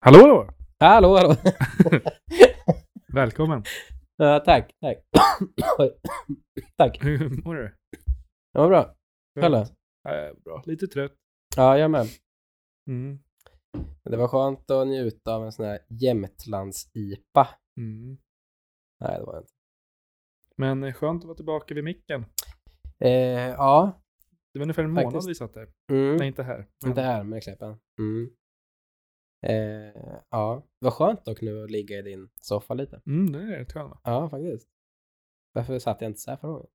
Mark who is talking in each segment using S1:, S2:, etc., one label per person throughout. S1: Hallå, hallå!
S2: Hallå, hallå.
S1: Välkommen!
S2: Ja, tack, tack. Oj. tack.
S1: Hur mår du?
S2: Det var bra. Själv då?
S1: Eh, bra. Lite trött.
S2: Ja, jag med.
S1: Mm.
S2: Det var skönt att njuta av en sån här Jämtlands-IPA.
S1: Mm.
S2: Nej, det var det inte.
S1: Men eh, skönt att vara tillbaka vid micken.
S2: Eh, ja.
S1: Det var ungefär en månad
S2: Faktiskt.
S1: vi satt där.
S2: Mm.
S1: Nej, inte här. Men
S2: Inte här med kläppen. Mm. Eh, ja. Det var skönt dock nu att ligga i din soffa lite.
S1: Mm, det är rätt skönt va?
S2: Ja, faktiskt. Varför satt jag inte så här förra gången?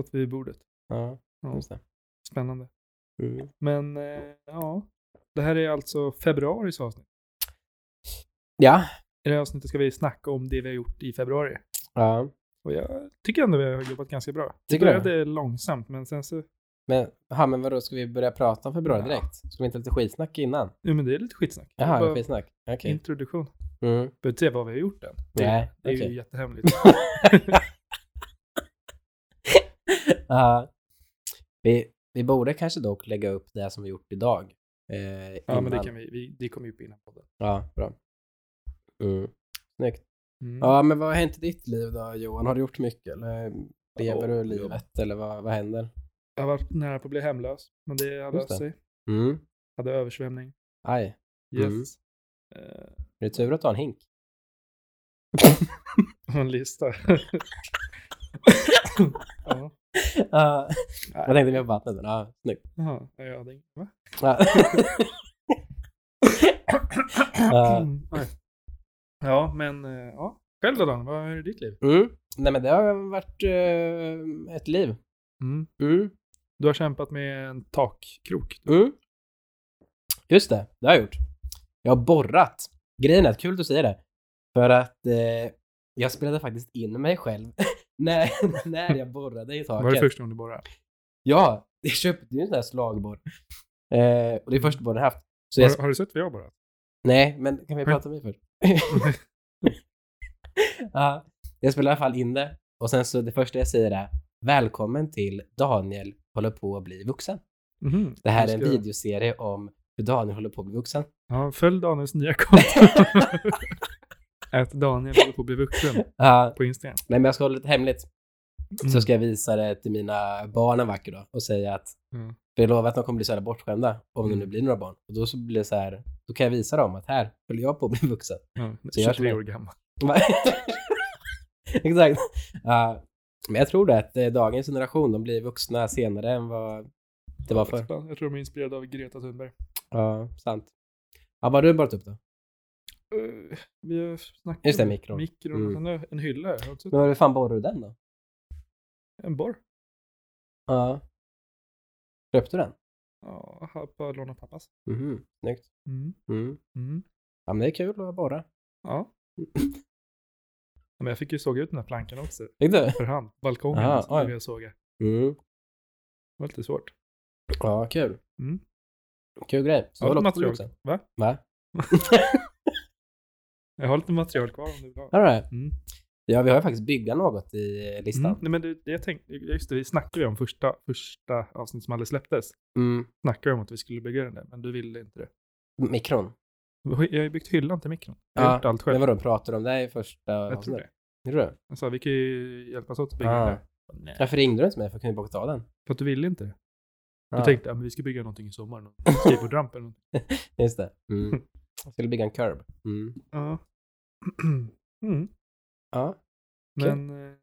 S1: Satt vi vid bordet.
S2: Ja,
S1: Ja,
S2: just det.
S1: spännande.
S2: Mm.
S1: Men eh, ja, det här är alltså februaris avsnitt.
S2: Ja.
S1: I det här avsnittet ska vi snacka om det vi har gjort i februari.
S2: ja.
S1: Och jag tycker ändå vi har jobbat ganska bra.
S2: Tycker du?
S1: det började långsamt, men sen så...
S2: Men, aha, men vadå, ska vi börja prata om februari direkt? Ska vi inte ha lite skitsnack innan?
S1: Jo, men det är lite skitsnack.
S2: Jaha,
S1: Bara
S2: skitsnack. Okej.
S1: Introduktion.
S2: Mm.
S1: Behöver inte säga vad vi har gjort än. Det-
S2: Nej,
S1: Det är ju
S2: okej.
S1: jättehemligt.
S2: Ja. vi, vi borde kanske dock lägga upp det som vi gjort idag. Eh,
S1: Ja, men det,
S2: innan.
S1: kan vi, vi, det kommer ju upp innan podden.
S2: Ja, bra. Mm. Snyggt.
S1: Mm.
S2: Ja, men vad har hänt i ditt liv då, Johan? Har du gjort mycket? Eller lever
S1: Ja,
S2: du livet? Eller vad, vad händer?
S1: Jag har varit nära på att bli hemlös, men det har
S2: Just
S1: löst sig.
S2: Mm.
S1: Hade översvämning.
S2: Aj. Mm.
S1: Yes. Eh,
S2: Det är tur att du har en hink.
S1: och en lista. ja.
S2: Ja.
S1: Nej.
S2: jag tänkte mer på vattnet, men ja, snyggt.
S1: Jaha, jag hade inget. Va?
S2: Ja. Ja.
S1: Mm, Nej. Ja, men eh, ja. Själv då, Dan? Vad är det i ditt liv?
S2: Mm. Nej, men det har varit eh, ett liv.
S1: Mm.
S2: Mm.
S1: Du har kämpat med en takkrok.
S2: Mm. Just det, det har jag gjort. Jag har borrat. Grejen är att kul att du säger det. För att eh, jag spelade faktiskt in mig själv när, när jag borrade i taket.
S1: Var det första gången du borrade?
S2: Ja, jag köpte ju en sån här slagborr. Eh, och det är första borren jag haft. Så jag,
S1: Har, har du sett vad jag borrat?
S2: nej, men kan vi prata om mig först? ja, jag spelade i alla fall in det. Och sen så det första jag säger är Välkommen till Daniel håller på att bli vuxen.
S1: Mhm.
S2: Det här
S1: Jag
S2: är en
S1: ska-
S2: videoserie om hur Daniel håller på att bli vuxen.
S1: Ja, följ Daniels nya konto. Att Daniel håller på att bli vuxen
S2: Ja,
S1: på Instagram.
S2: Nej, men jag ska hålla det hemligt.
S1: Mm.
S2: Så ska jag visa det till mina barn en vacker dag och säga att
S1: Mm.
S2: för jag lovar att de kommer bli så jävla bortskämda om det nu
S1: Mm.
S2: blir några barn. Och då så blir det så här, då kan jag visa dem att här höll jag på att bli vuxen.
S1: Ja,
S2: Så jag
S1: 23
S2: som-
S1: år gammal.
S2: Va? Exakt. Ja, men jag tror det att eh, dagens generation, de blir vuxna senare än vad det var förr.
S1: Jag tror de är inspirerade av Greta Thunberg.
S2: Ja, sant. Ja, vad har du borrat upp då?
S1: Eh, Vi har snackat
S2: Just det,
S1: om
S2: mikron.
S1: mikron och
S2: Mm.
S1: en- en hylla. här. Har du sett
S2: Men hur fan borrade du den då?
S1: En borr.
S2: Ja. Köpte du den?
S1: Ja, här på låna pappas.
S2: Mhm, snyggt.
S1: Mm.
S2: Mm.
S1: Mm.
S2: Ja, men det är kul att borra.
S1: Ja. Men jag fick ju såga ut den här plankan också.
S2: Fick du?
S1: För hand. Balkongen.
S2: Aha,
S1: så blev
S2: oj.
S1: jag såga. Det
S2: Mm.
S1: var lite svårt.
S2: Ja, kul.
S1: Mm.
S2: Kul grej. Så
S1: Jag har
S2: det
S1: lite
S2: låter kul
S1: material.
S2: också.
S1: Va?
S2: Va?
S1: Jag har lite material kvar om du vill ha.
S2: All right.
S1: Mm.
S2: Ja, vi har ju faktiskt bygga något i eh, listan.
S1: Mm. Nej, men det, det jag tänkte, just det, vi snackade ju om första, första avsnittet som aldrig släpptes.
S2: Mm.
S1: Snackade vi om att vi skulle bygga den där, men du ville inte det.
S2: Mikron.
S1: Jag har ju byggt hyllan till mikron. Jag har
S2: Ja,
S1: gjort allt
S2: Men
S1: själv.
S2: vadå, pratar du om det här i första
S1: Jag tror det.
S2: Tror du?
S1: Jag sa, vi kan ju hjälpas åt att bygga den
S2: Ah.
S1: där. Nej.
S2: Varför ringde du inte mig? För jag kunde ju bara ta den.
S1: För att du ville inte det. Du
S2: Ja,
S1: tänkte, ja, men vi ska bygga någonting i sommar. någon Skateboardramp eller någonting.
S2: Just det. Mm. Jag skulle bygga en curb. Mm.
S1: Ja. Mm.
S2: Ja, Okej.
S1: Men, eh,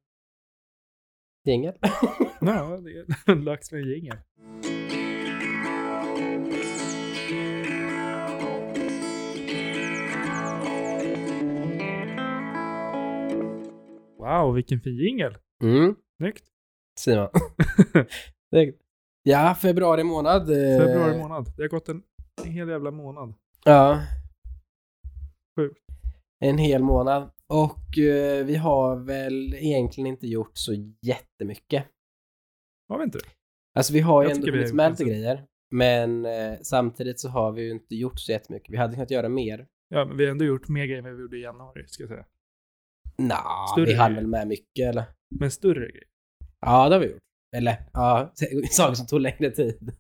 S2: jingel.
S1: ja, det är lax med jingel. Wow, vilken fin jingel.
S2: Mm.
S1: Snyggt.
S2: Simon. Snyggt. ja, februari månad. eh,
S1: Februari månad. Det har gått en, en hel jävla månad.
S2: Ja.
S1: Sjukt.
S2: En hel månad. Och eh, vi har väl egentligen inte gjort så jättemycket.
S1: Har vi inte det?
S2: Alltså vi har ju
S1: Jag
S2: ändå
S1: tycker vi har
S2: hunnit
S1: gjort
S2: med
S1: ganska-
S2: lite grejer. Men eh, samtidigt så har vi ju inte gjort så jättemycket. Vi hade kunnat göra mer.
S1: Ja, men vi har ändå gjort mer grejer än vad vi gjorde i januari, ska jag säga.
S2: Nja,
S1: Större
S2: vi hann
S1: grejer.
S2: väl med mycket eller?
S1: Men större grejer.
S2: Ja, det har vi gjort. Eller ja, saker som tog längre tid.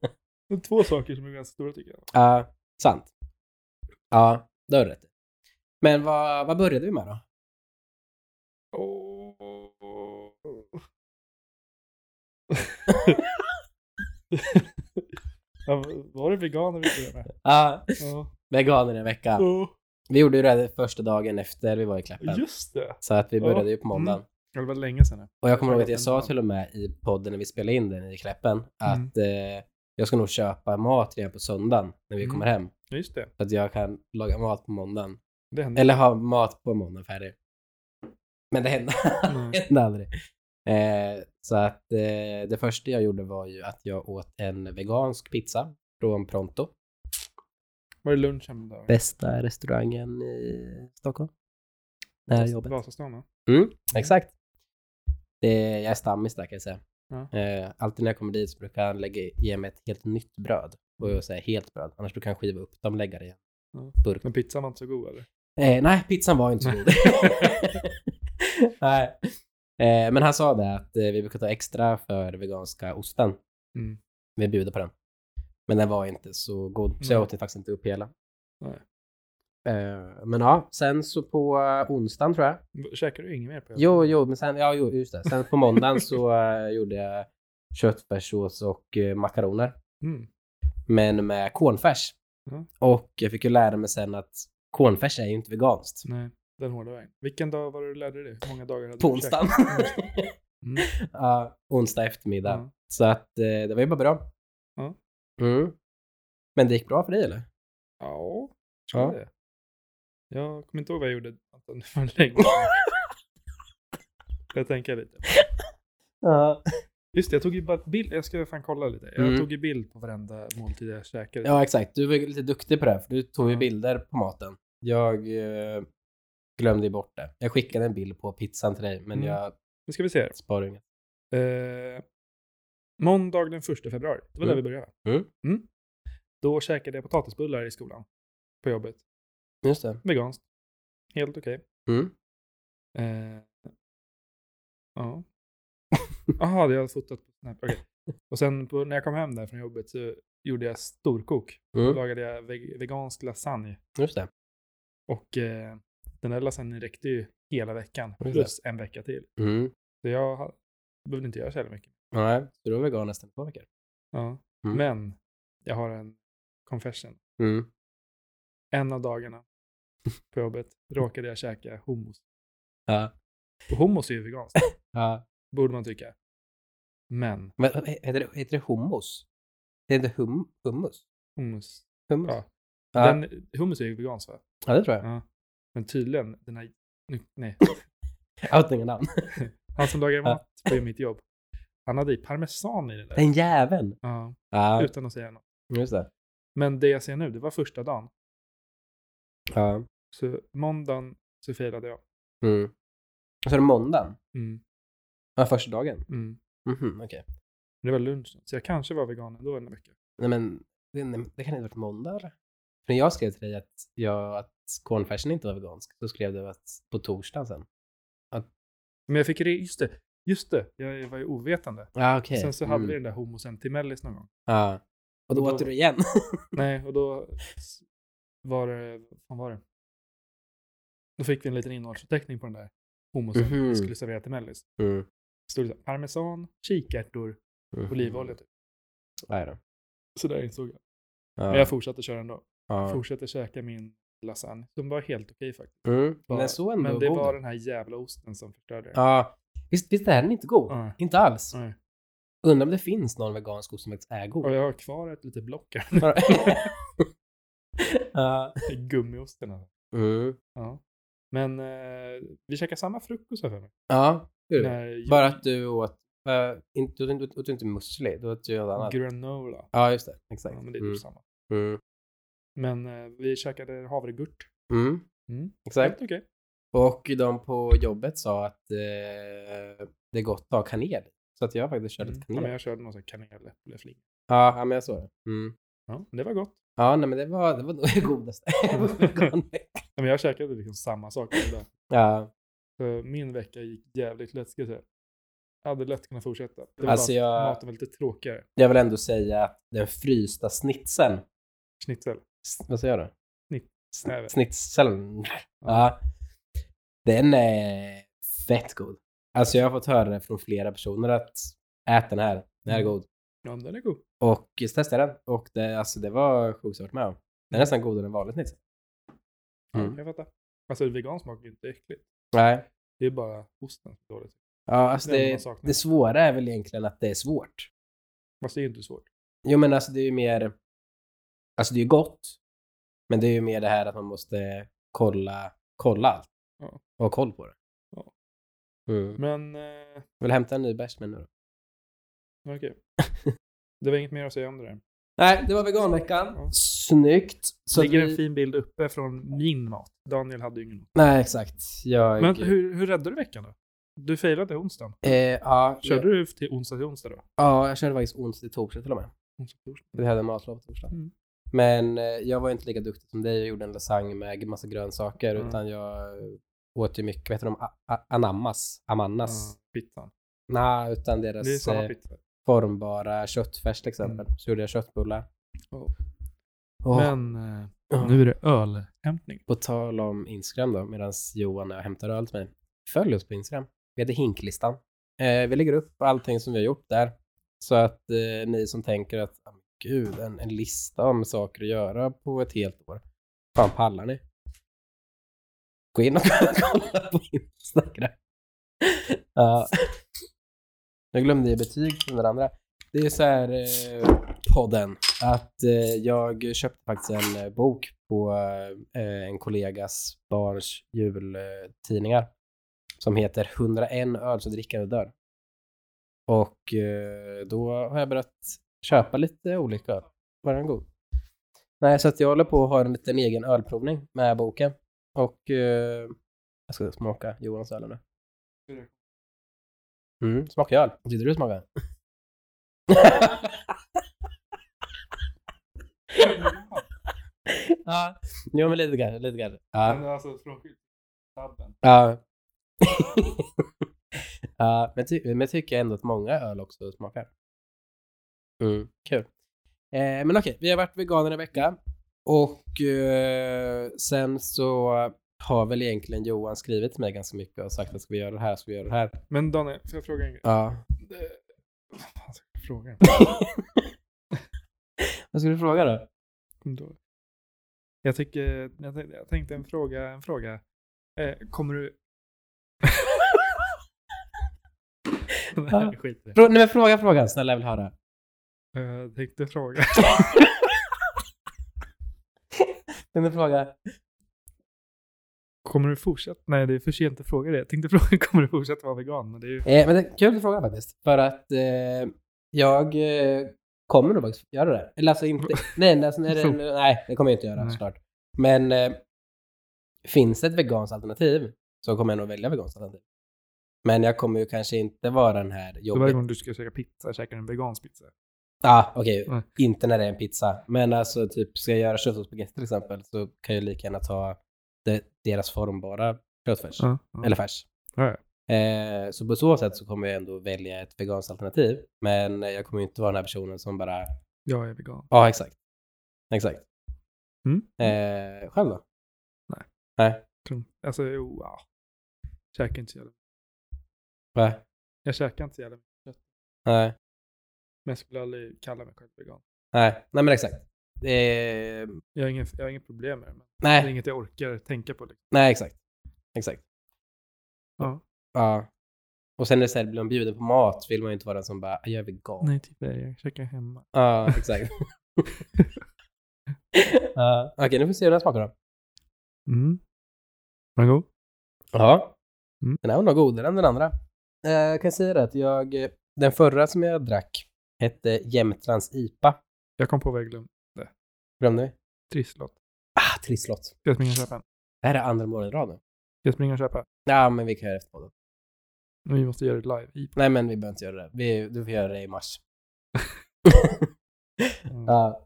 S1: Det är två saker som är ganska stora tycker jag.
S2: Ja, sant. Ja, det har du rätt i. Men vad, vad började vi med då?
S1: ja, var det veganer vi började med?
S2: Ja,
S1: Ja.
S2: veganer i en vecka.
S1: Ja.
S2: Vi gjorde ju det här första dagen efter vi var i Kläppen.
S1: Just det.
S2: Så att vi
S1: Ja. Mm.
S2: började ju på måndagen.
S1: Ja, Det var länge sedan. nu.
S2: Och jag kommer ihåg att
S1: Det har
S2: jag
S1: gått
S2: sa
S1: en
S2: till och med i podden när vi spelade in den i
S1: Mm.
S2: Kläppen att eh, jag ska nog köpa mat redan på söndagen när vi
S1: Mm.
S2: kommer hem.
S1: Ja, Just det.
S2: Så att jag kan laga mat på måndagen.
S1: Det hände.
S2: Eller ha mat på måndagen färdig. Men det hände,
S1: Mm.
S2: det hände aldrig. Eh, så att eh, det första jag gjorde var ju att jag åt en vegansk pizza från Pronto.
S1: Var det lunch hemma då?
S2: Bästa restaurangen i Stockholm. Nära jobbet.
S1: Vasastan va?
S2: Mm, exakt. Det, jag är stammis där kan jag säga.
S1: Ja.
S2: Eh, alltid när jag kommer dit så brukar han lägga, ge mig ett helt nytt bröd. Och jag säger helt bröd, annars brukar han skiva upp dem och lägga det i en
S1: Ja.
S2: burk.
S1: Men pizzan var inte så god eller?
S2: Eh, nej, pizzan var inte så god. nej. Eh, men han sa det att eh, vi brukar ta extra för veganska osten.
S1: Mm.
S2: Vi bjuder på den. Men den var inte så god, så jag
S1: Nej.
S2: åt faktiskt inte upp hela.
S1: Nej.
S2: Eh, men ja, sen så på eh, onsdagen tror jag,
S1: V- Käkar du inget mer på
S2: Jo, jo, men sen, ja, jo, just det. Sen på måndagen så eh, gjorde jag köttfärssås och eh, makaroner,
S1: Mm.
S2: men med cornfärs.
S1: Ja.
S2: Och jag fick ju lära mig sen att cornfärs är ju inte veganskt.
S1: Nej, den hårda vägen. Vilken dag var det du lärde dig det? Hur många dagar hade
S2: På
S1: du käkat?
S2: onsdagen.
S1: Mm.
S2: ja, onsdag eftermiddag.
S1: Ja.
S2: Så att eh, det var ju bara bra.
S1: Ja.
S2: Mm. Men det gick bra för dig eller?
S1: Ja, tror
S2: Ja.
S1: jag det. Jag kommer inte ihåg vad jag gjorde. Vänta, nu var det länge sedan. Jag tänker lite.
S2: Ja,
S1: Just det, jag tog ju bara ett bild. Jag ska fan kolla lite. Jag
S2: Mm.
S1: tog ju bild på varenda måltid jag käkade.
S2: ja exakt. Du var ju lite duktig på det här, för du tog ju
S1: typ. Ja.
S2: bilder på maten. Jag eh, glömde ju bort det. Jag skickade en bild på pizzan till dig, men
S1: Mm.
S2: jag
S1: Nu ska vi se.
S2: sparar inget.
S1: här. Eh, måndag den 1 februari. Det var där
S2: Mm.
S1: vi började.
S2: Mm.
S1: Då käkade jag potatisbullar i skolan. På jobbet.
S2: Just det.
S1: Veganskt. Helt okej.
S2: Mm.
S1: Eh, ja. Jaha, det har jag fotat på Snap. Okej. Och sen på, när jag kom hem där från jobbet så gjorde jag storkok. Då
S2: Mm.
S1: lagade jag veg- vegansk lasagne.
S2: Just det.
S1: Och eh, den där lasagnen räckte ju hela veckan.
S2: Just det.
S1: Plus en vecka till.
S2: Mm.
S1: Så jag ha- behövde inte göra så jävla mycket.
S2: Nej, så du var vegan nästan två veckor.
S1: Ja.
S2: Mm.
S1: Men jag har en confession.
S2: Mm.
S1: En av dagarna på jobbet råkade jag käka hummus.
S2: Ja.
S1: Och hummus är ju veganskt,
S2: ja.
S1: borde man tycka. Men
S2: Men, vad heter, det, heter det hummus? Det heter hum, hummus?
S1: hummus,
S2: hummus.
S1: Ja.
S2: Ja.
S1: den, hummus är ju veganskt va?
S2: ja, det tror jag.
S1: Ja. Men tydligen, den här, nu, nej,
S2: Outing namn.
S1: han som lagar
S2: Ja.
S1: mat på mitt jobb, han hade i parmesan i den där.
S2: Den jäveln.
S1: Ja,
S2: Ja,
S1: utan att säga något.
S2: just det.
S1: Men det jag ser nu, det var första dagen.
S2: Ja.
S1: Så måndagen så failade jag.
S2: Mm. Och så är det måndagen.
S1: Mm,
S2: Ja, första dagen.
S1: mm.
S2: Mhm, okej.
S1: Det var lunchen, så jag kanske var vegan ändå en vecka.
S2: Nej, men det, nej, det kan inte ha varit måndag eller? För när jag skrev till dig att, jag, att cornfärsen inte var vegansk, så skrev du att på torsdagen sen.
S1: Men jag fick, re- just det, just det, jag var ju ovetande.
S2: Ja, okej.
S1: Sen så hade vi den
S2: Mm.
S1: där hummusen till mellis någon gång.
S2: Ja. Och då
S1: Och då-
S2: åt du det igen.
S1: Nej, och då s- var det, vad var det? Då fick vi en liten innehållsförteckning på den där hummusen
S2: Mhm.
S1: vi skulle servera till mellis.
S2: Mm.
S1: stod det så här, parmesan, kikärtor,
S2: Mm.
S1: olivolja. Typ.
S2: Nej då.
S1: Så där insåg jag.
S2: Ja.
S1: Men jag fortsatte köra ändå.
S2: ja.
S1: Fortsatte käka min lasagne. Den var helt okej faktiskt.
S2: Mm.
S1: Bara-
S2: Men så ändå
S1: Men det
S2: god.
S1: var den här jävla osten som förstörde det.
S2: Ja. Visst, visst är den inte god?
S1: Ja.
S2: Inte alls.
S1: Nej.
S2: Undrar om det finns någon vegansk ost som faktiskt är god.
S1: Och jag har kvar ett litet block här.
S2: Ja.
S1: Gummiosten. alltså.
S2: mm.
S1: Ja. Men eh, vi käkade samma frukost här för mig.
S2: Ja, det är det.
S1: När jag-
S2: Bara att du åt... Uh, inte, du, åt- åt du inte müsli, du åt ju något annat.
S1: Granola.
S2: Ja, just det. Exakt.
S1: Ja, men det är
S2: mm.
S1: typ samma.
S2: Mm.
S1: Men eh, vi käkade havregurt.
S2: Mm.
S1: Mm.
S2: Exakt.
S1: Helt okej.
S2: Och de på jobbet sa att eh, det är gott att ha kanel. Så att jag har faktiskt kört
S1: Mm.
S2: lite
S1: Ja,
S2: kanel.
S1: men jag körde någon sån här kaneläppleflinga.
S2: Ja, ja, men jag såg det. Mm.
S1: Ja, men det var gott. Mm.
S2: Ja, nej, men det var, det var nog det godaste.
S1: Ja, men jag käkade liksom samma sak varje dag.
S2: ja,
S1: Så min vecka gick jävligt lätt ska jag säga. Jag hade lätt kunnat fortsätta. Det var
S2: Alltså,
S1: bara att
S2: jag-
S1: maten var lite tråkigare.
S2: jag vill ändå säga att den frysta snitsen.
S1: Schnitzel.
S2: S- Vad säger du?
S1: Snitt. Jag vet.
S2: Snitseln. Ja. Den är fett god. Alltså jag har fått höra det från flera personer att ät den här. Den här är
S1: Mm.
S2: god.
S1: Ja, men den är god.
S2: Och just testade den och det, alltså, det var sjukt svårt med om. Den
S1: Mm.
S2: är nästan godare än vanligt liksom.
S1: Ja,
S2: Mm.
S1: Jag fattar. Alltså vegan smakar ju inte äckligt.
S2: Nej.
S1: Det är bara osten som är dåligt.
S2: Ja, alltså
S1: Det är det
S2: det,
S1: man saknar.
S2: det svåra är väl egentligen att det är svårt.
S1: Fast det är ju inte svårt.
S2: Jo men alltså det är ju mer, alltså det är ju gott, men det är ju mer det här att man måste kolla, kolla allt.
S1: Ja.
S2: Och ha koll på det.
S1: Ja.
S2: Mm.
S1: Men eh,
S2: Vill hämta en ny bärs med nu då?
S1: okej. det var inget mer att säga om det där.
S2: Nej, det var
S1: Ja.
S2: veganveckan. Snyggt. Så
S1: ligger
S2: vi-
S1: en fin bild uppe från min mat. Daniel hade ju ingen mat.
S2: Nej, exakt. Jag...
S1: Men hur, hur räddade du veckan då? Du failade onsdagen.
S2: Eh, ja,
S1: Körde
S2: jag,
S1: du till onsdag till onsdag då?
S2: ja, jag körde faktiskt onsdag till torsdag till och med.
S1: Onsdag, till torsdag.
S2: Vi hade matlov på torsdag.
S1: Mm.
S2: Men eh, jag var ju inte lika duktig som dig och gjorde en lasagne med massa grönsaker,
S1: Mm.
S2: utan jag eh, åt ju mycket, vad heter de, a- a- anamas, amannas?
S1: Ja, pizzan.
S2: Nej, utan deras
S1: Det är samma
S2: eh,
S1: pizza.
S2: formbara köttfärs till exempel. Så gjorde jag köttbullar.
S1: Ja.
S2: Åh,
S1: Mm. Oh. Men eh,
S2: åh.
S1: nu är det ölhämtning.
S2: På tal om Instagram då, medan Johan och jag hämtar öl till mig. Följ oss på Instagram. Vi heter Hinklistan. Eh, vi lägger upp allting som vi har gjort där. Så att eh, ni som tänker att ah, men gud, en, en lista om saker att göra på ett helt år. Fan pallar ni? Gå in och kolla på Instagram. Ja. jag glömde ge betyg till den andra. Det är så här eh, podden att eh, jag köpte faktiskt en eh, bok på eh, en kollegas barns jultidningar som heter 101 öl så drickandet dör. Och eh, då har jag börjat köpa lite olika öl. Var den god? Nej, så att jag håller på och har en liten egen ölprovning med boken. Och eh, jag ska smaka Johans öl nu. Mm, smakar jag öl? Tyckte du det smakade? ja, jo men lite kanske, lite kanske. Ja.
S1: Men alltså från skylttabben.
S2: Ja. ja, men, ty- men tycker jag ändå att många öl också smakar. Mm, kul. Eh, men okej, vi har varit veganer i vecka och eh, sen så har väl egentligen Johan skrivit till mig ganska mycket och sagt att ska vi göra det här, ska vi göra det här.
S1: Men Daniel, får jag fråga en grej?
S2: Ja.
S1: Eh, Vad ska jag fråga?
S2: Vad ska du fråga då?
S1: Kom då. Jag, tycker, jag, tänkte, jag tänkte en fråga. En fråga. Eh, kommer du... Nej, skit i det.
S2: Frå- nej men fråga frågan, snälla jag vill höra.
S1: Eh, Jag tänkte fråga.
S2: Kan du fråga?
S1: Kommer du fortsätta? Nej, det är för sent att fråga det. Jag tänkte fråga, kommer du fortsätta vara vegan? Men det är ju...
S2: Eh, men det är kul att fråga faktiskt. För att eh, jag eh, kommer nog faktiskt göra det. Eller alltså inte... nej, nej, alltså, nej, det, nej, det kommer jag inte göra
S1: Nej.
S2: såklart. Men eh, finns det ett veganskt alternativ så kommer jag nog välja veganskt alternativ. Men jag kommer ju kanske inte vara den här
S1: Så varje
S2: jobbig...
S1: gång du ska käka pizza, käkar du en vegansk pizza.
S2: Ja, ah, okej.
S1: Nej.
S2: Inte när det är en pizza. Men alltså typ, ska jag göra köttfärsbaguette till exempel så kan jag lika gärna ta de, deras formbara köttfärs.
S1: Ja, ja.
S2: Eller färs.
S1: Ja,
S2: Eh, så på så sätt så kommer jag ändå välja ett veganskt alternativ. Men eh, jag kommer ju inte vara den här personen som bara, ja
S1: jag är vegan.
S2: exakt. Exakt.
S1: Mm.
S2: Eh, själv då?
S1: Tror- Alltså, jo, ja. Käkar inte så jävla
S2: Va?
S1: Jag käkar inte så jävla
S2: Nej,
S1: Men jag skulle aldrig kalla mig själv vegan.
S2: nej, nej men exakt. Eh,
S1: Jag har inget, jag har inget problem med det. Men det är
S2: nej,
S1: inget jag orkar tänka på. Liksom.
S2: nej exakt. Exakt.
S1: Ja.
S2: Ja. Och sen när det så här blir man bjuden på mat vill man ju inte vara den som bara, jag är vegan.
S1: Nej, typ jag käkar hemma.
S2: Ja, exakt. Ja, Okej, nu får vi se hur den här smakar då.
S1: Mm. Var den god?
S2: Ja.
S1: Mm.
S2: Den här var nog godare än den andra. Eh, jag kan säga det att jag, eh, den förra som jag drack hette Jämtlands IPA.
S1: Jag kom på vad jag glömde.
S2: Glömde vi?
S1: Trisslott.
S2: Ah, trisslott.
S1: Ska jag springa och köpa en?
S2: Det här är andra morgonen i rad nu.
S1: Ska jag springa och köpa?
S2: Ja, men vi kan göra det efter podden.
S1: Men Vi måste göra det live. I-
S2: Nej, men vi behöver inte göra det. Vi, du får göra det i mars.
S1: Mm.
S2: Ja.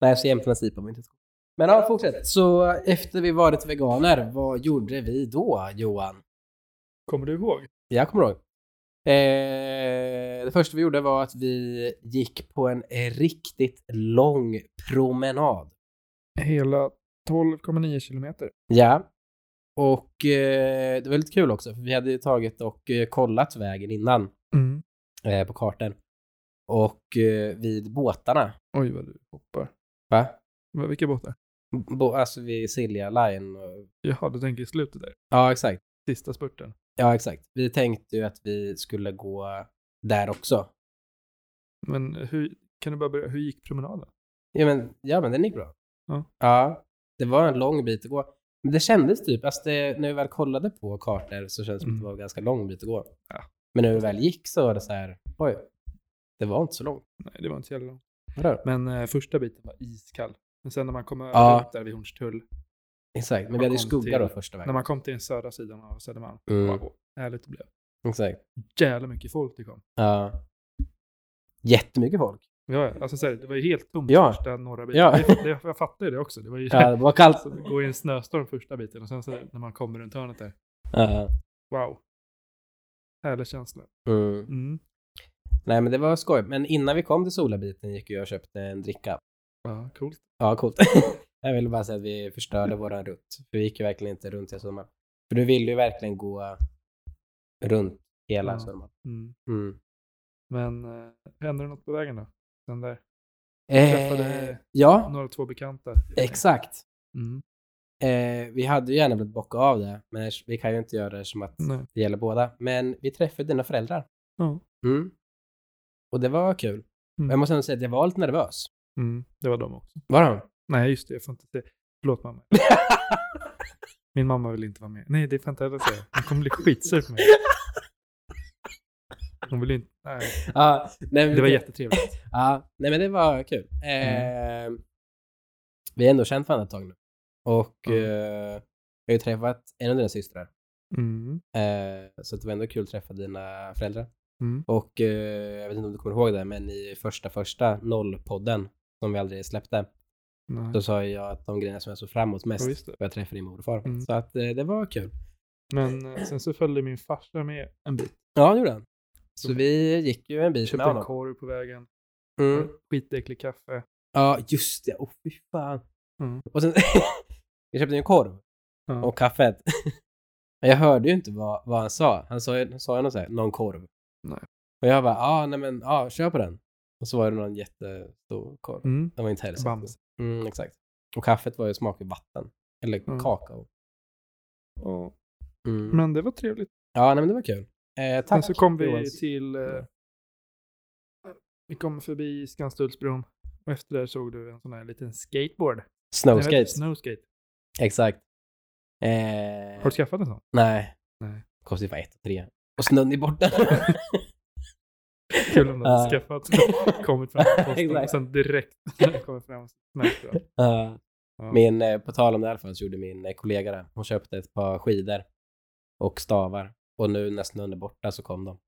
S2: Nej, så Jämtlands IPA var inte så god. Men ja, fortsätt. Så efter vi varit veganer, vad gjorde vi då, Johan?
S1: Kommer du ihåg?
S2: Jag kommer ihåg. Eh, det första vi gjorde var att vi gick på en riktigt lång promenad.
S1: Hela 12,9 kilometer.
S2: Ja. Och eh, det var lite kul också, för vi hade ju tagit och eh, kollat vägen innan
S1: Mm.
S2: eh, på kartan. Och eh, vid båtarna,
S1: Oj, vad du hoppar.
S2: va?
S1: Va, Vilka båtar?
S2: Bo, alltså vid Silja Line. Och,
S1: Jaha, du tänker i slutet där.
S2: ja, exakt.
S1: Sista spurten.
S2: Ja, exakt. Vi tänkte ju att vi skulle gå där också.
S1: Men eh, hur, kan du bara börja, hur gick promenaden?
S2: Ja, men, ja, men den gick bra.
S1: Ja.
S2: ja. Det var en lång bit att gå. Men det kändes typ, alltså det, när vi väl kollade på kartor så kändes det som att det
S1: Mm.
S2: var en ganska lång bit att gå.
S1: Ja.
S2: Men när vi väl gick så var det så här, oj, det var inte så långt.
S1: Nej, det var inte så jävla långt.
S2: Vadå?
S1: Men eh, första biten var iskall. Men sen när man kom över
S2: Ja.
S1: upp där vid Hornstull,
S2: Exakt, men
S1: Man
S2: vi hade ju
S1: kom
S2: skugga då
S1: till-
S2: första
S1: när
S2: vägen.
S1: man kom till den södra sidan av Södermalm,
S2: Mm.
S1: wow, härligt det blev.
S2: Exakt.
S1: Jävla mycket folk det kom.
S2: Ja. Jättemycket folk.
S1: Ja, ja, alltså, så här, det var ju helt tomt
S2: Ja.
S1: första norra biten.
S2: Ja.
S1: Det, det, jag fattar ju det också. Det var ju
S2: Ja, det var kallt.
S1: så det går i en snöstorm första biten och sen så när man kommer runt hörnet där,
S2: Ja.
S1: wow. Härlig känsla.
S2: Mm.
S1: Mm.
S2: Nej, men det var skoj. Men innan vi kom till solabiten gick jag och köpte en dricka.
S1: Ja, coolt.
S2: Ja, coolt. jag ville bara säga att vi förstörde
S1: Mm.
S2: våran rutt. För vi gick ju verkligen inte runt hela Södermalm. För du ville ju verkligen gå runt hela
S1: Ja.
S2: Södermalm.
S1: Mm.
S2: Mm.
S1: Men eh, hände det något på vägen då? Den där.
S2: Eh,
S1: Träffade-
S2: ja,
S1: Några två bekanta.
S2: exakt.
S1: Mm.
S2: Eh, vi hade ju gärna velat bocka av det, men vi kan ju inte göra det som att
S1: Nej.
S2: det gäller båda. Men vi träffade dina föräldrar.
S1: Ja.
S2: Mm. Och det var kul.
S1: Mm.
S2: Jag måste ändå säga att jag var lite nervös.
S1: Mm. Det var de också.
S2: Var de?
S1: Nej, just det. Jag får inte säga. Förlåt mamma. Min mamma vill inte vara med. Nej, det får jag inte heller säga. Hon kommer bli skitsur på mig. Hon vill inte. Nej.
S2: Ja, nej, men-
S1: Det var jättetrevligt.
S2: Ja, nej men det var kul.
S1: Mm.
S2: Eh, vi har ändå känt varandra ett tag nu. Och
S1: Mm.
S2: eh, jag har ju träffat en av dina systrar.
S1: Mm.
S2: Eh, så att det var ändå kul att träffa dina föräldrar.
S1: Mm.
S2: Och eh, jag vet inte om du kommer ihåg det, men i första, första nollpodden som vi aldrig släppte,
S1: Nej.
S2: så sa jag att de grejerna som jag såg fram emot mest
S1: Ja, just det.
S2: var att träffa din mor och far.
S1: Mm.
S2: Så att eh, det var kul.
S1: Men eh, sen så följde min farsa med en bit.
S2: Ja, det gjorde han. Så
S1: Mm.
S2: vi gick ju en bit med
S1: Köpte en
S2: honom.
S1: korv på vägen.
S2: Mm.
S1: Skitäcklig kaffe.
S2: Ja, just det. Åh, fy fan.
S1: Mm.
S2: Och sen, vi köpte ju en korv
S1: Ja.
S2: och kaffet. Men jag hörde ju inte vad, vad han sa. Han sa, ju- han sa ju något så här, någon korv.
S1: Nej.
S2: Och jag bara, ah, nej men, ja, ah, kör på den. Och så var det någon jättestor korv.
S1: Mm.
S2: Den var inte heller
S1: Bamse.
S2: Mm, exakt. Och kaffet var ju smak i vatten. Eller
S1: Mm.
S2: kakao.
S1: Och,
S2: Mm.
S1: men det var trevligt.
S2: Ja, nej men det var kul. Eh, tack.
S1: Sen så kom vi
S2: Johans.
S1: till... Eh, vi kom förbi Skanstullsbron och efter det såg du en sån här liten skateboard. Nej, vad heter
S2: Snowskate.
S1: det? Snowskate.
S2: Exakt. Eh,
S1: Har du skaffat en sån?
S2: Nej.
S1: Nej.
S2: Kostade ju bara ett och tre. Och snön är borta.
S1: Kul om du hade
S2: Ja.
S1: skaffat kommit fram till posten och
S2: Exakt.
S1: sen direkt när den kommer fram så smälter den.
S2: Ja.
S1: Ja.
S2: Min, eh, på tal om det i alla fall så gjorde min eh, kollega det. Hon köpte ett par skidor och stavar. Och nu när snön är borta så kom de.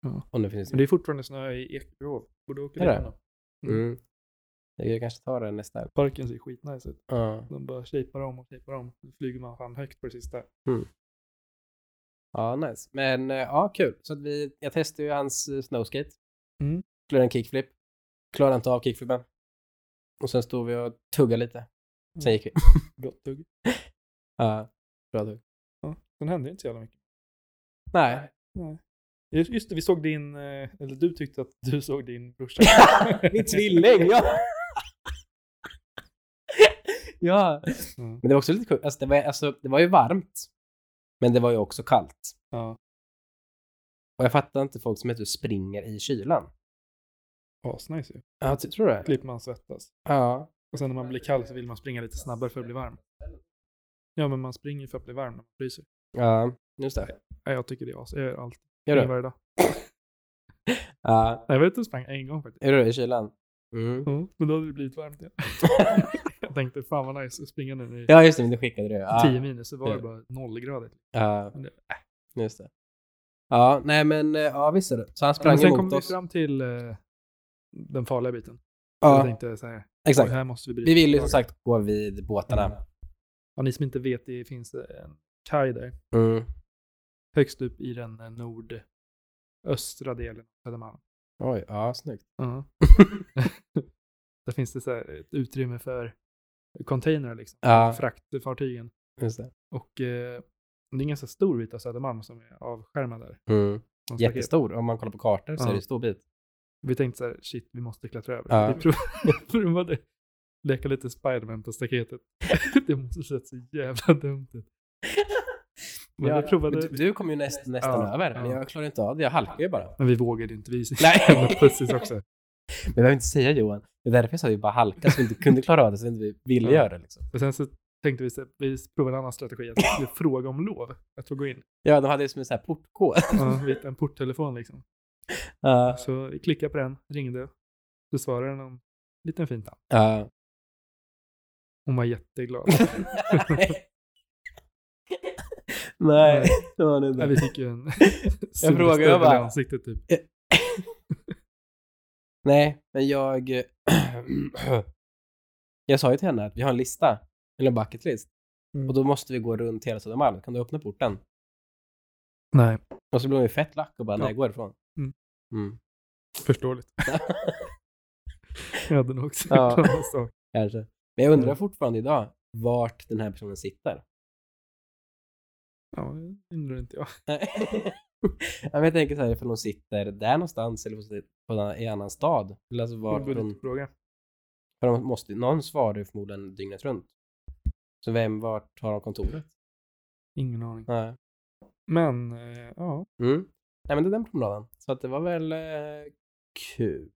S1: Ja.
S2: Och nu finns
S1: Men
S2: det...
S1: det är fortfarande snö i Ekerhov. Borde åka
S2: Är det?
S1: dit.
S2: Mm. Jag kanske tar det nästa.
S1: Parken ser skitnice ut.
S2: Ja.
S1: De bara shapear om och shapear om. Nu flyger man fan högt på det sista.
S2: ja, nice. Men eh, ja, kul. Så att vi, jag testade ju hans eh, snowskate.
S1: Mm.
S2: Klarade en kickflip. Klarade inte av kickflipen. Och sen stod vi och tuggade lite. Sen
S1: Mm.
S2: gick vi.
S1: Gott tugg.
S2: Ja, bra tugg.
S1: Sen hände det inte så jävla mycket.
S2: Nej,
S1: Just just det, vi såg din... eh, Eller du tyckte att du såg din brorsa.
S2: min tvilling! Ja! ja.
S1: Mm.
S2: Men det var också lite kul. Alltså, det, var, alltså, det var ju varmt, men det var ju också kallt.
S1: Ja,
S2: Och jag fattar inte folk som inte springer i kylan.
S1: asnice ju.
S2: Ja, ty- tror du det?
S1: Slipper man svettas.
S2: Ja.
S1: Och sen när man blir kall så vill man springa lite snabbare för att bli varm. Ja, men man springer för att bli varm när man fryser.
S2: Ja, just det.
S1: Nej, jag tycker det är as. Jag gör allt.
S2: Gör du?
S1: Varje dag.
S2: Ja,
S1: Nej, jag var ute och sprang en gång faktiskt.
S2: är du i kylan? Mm.
S1: Mm. Men då hade det blivit varmt igen. jag tänkte fan vad nice att springa nu när det är
S2: Ja, just det, men det skickade du. Ja,
S1: 10 minus så var
S2: Ja.
S1: det bara nollgradigt.
S2: ja
S1: Men det-
S2: just det. Ja, nej men eh, ja, visst är det. Så han sprang
S1: Men sen kom
S2: emot
S1: vi
S2: oss.
S1: fram till eh, den farliga biten. Jag
S2: Ja,
S1: tänkte så här,
S2: exakt.
S1: "Oj, här måste vi bryta.
S2: Vi ville ju som
S1: lagen."
S2: sagt gå vid båtarna.
S1: Ja, ni som inte vet, det finns eh, en kaj där.
S2: Mm.
S1: Högst upp i den eh, nordöstra delen av Södermalm.
S2: Oj, ja, snyggt.
S1: Ja. Där finns det så här ett utrymme för containrar liksom.
S2: Ja.
S1: Fraktfartygen.
S2: Just det.
S1: Och eh, det är en ganska stor bit av Södermalm som är avskärmad där.
S2: Mm.
S1: Som staket.
S2: Jättestor. Om man kollar på kartor så
S1: Ja.
S2: är det en stor bit.
S1: Vi tänkte så här, shit, vi måste klättra över.
S2: Ja.
S1: Vi prov- provade leka lite Spiderman på staketet. det måste sett så jävla dumt ut. Men
S2: Ja,
S1: vi provade,
S2: men du, du kom ju näst, nästan
S1: Ja,
S2: över.
S1: ja.
S2: Men jag klarar inte av det. Jag halkar ju bara.
S1: men vi vågade inte. Vi
S2: Nej.
S1: precis också.
S2: Men jag behöver inte säga Johan. Det är därför jag sa att vi bara halkade så vi inte kunde klara av det. Så vi inte ville
S1: Ja.
S2: göra det. Liksom.
S1: Och sen så tänkte vi, så här, vi provar en annan strategi. Att vi skulle fråga om lov. Att få gå in.
S2: Ja, de hade ju som en sån här portkod.
S1: Ja, vi hittade en porttelefon liksom.
S2: Ja,
S1: Så vi klickade på den, ringde. Så svarade någon liten fin tant.
S2: ja.
S1: Hon var jätteglad.
S2: Nej, det var det
S1: Nej,
S2: inte.
S1: vi fick ju en
S2: Jag frågade, jag bara-
S1: i ansiktet typ.
S2: Nej, men jag... jag sa ju till henne att vi har en lista, eller en bucket list.
S1: Mm.
S2: Och då måste vi gå runt hela Södermalm. Kan du öppna porten?
S1: Nej,
S2: Och så blev hon ju fett lack och bara,
S1: Ja.
S2: nej, gå ifrån.
S1: Mm.
S2: Mm.
S1: förståeligt. Jag hade nog också
S2: Ja.
S1: gjort samma sak.
S2: Kanske. Alltså, Men jag undrar
S1: Mm.
S2: fortfarande idag vart den här personen sitter.
S1: Ja, det undrar inte jag.
S2: Ja, men jag tänker så här, ifall hon sitter där någonstans eller på- på en, i en annan stad. Eller alltså vart
S1: Det är en
S2: hon,
S1: budgetfråga.
S2: för de måste, någon svarar ju förmodligen dygnet runt. Så vem, vart har de kontoret?
S1: Ingen aning.
S2: Nej.
S1: Men, eh, ja.
S2: Mm. Nej, men det är den promenaden. Så att det var väl eh, kul.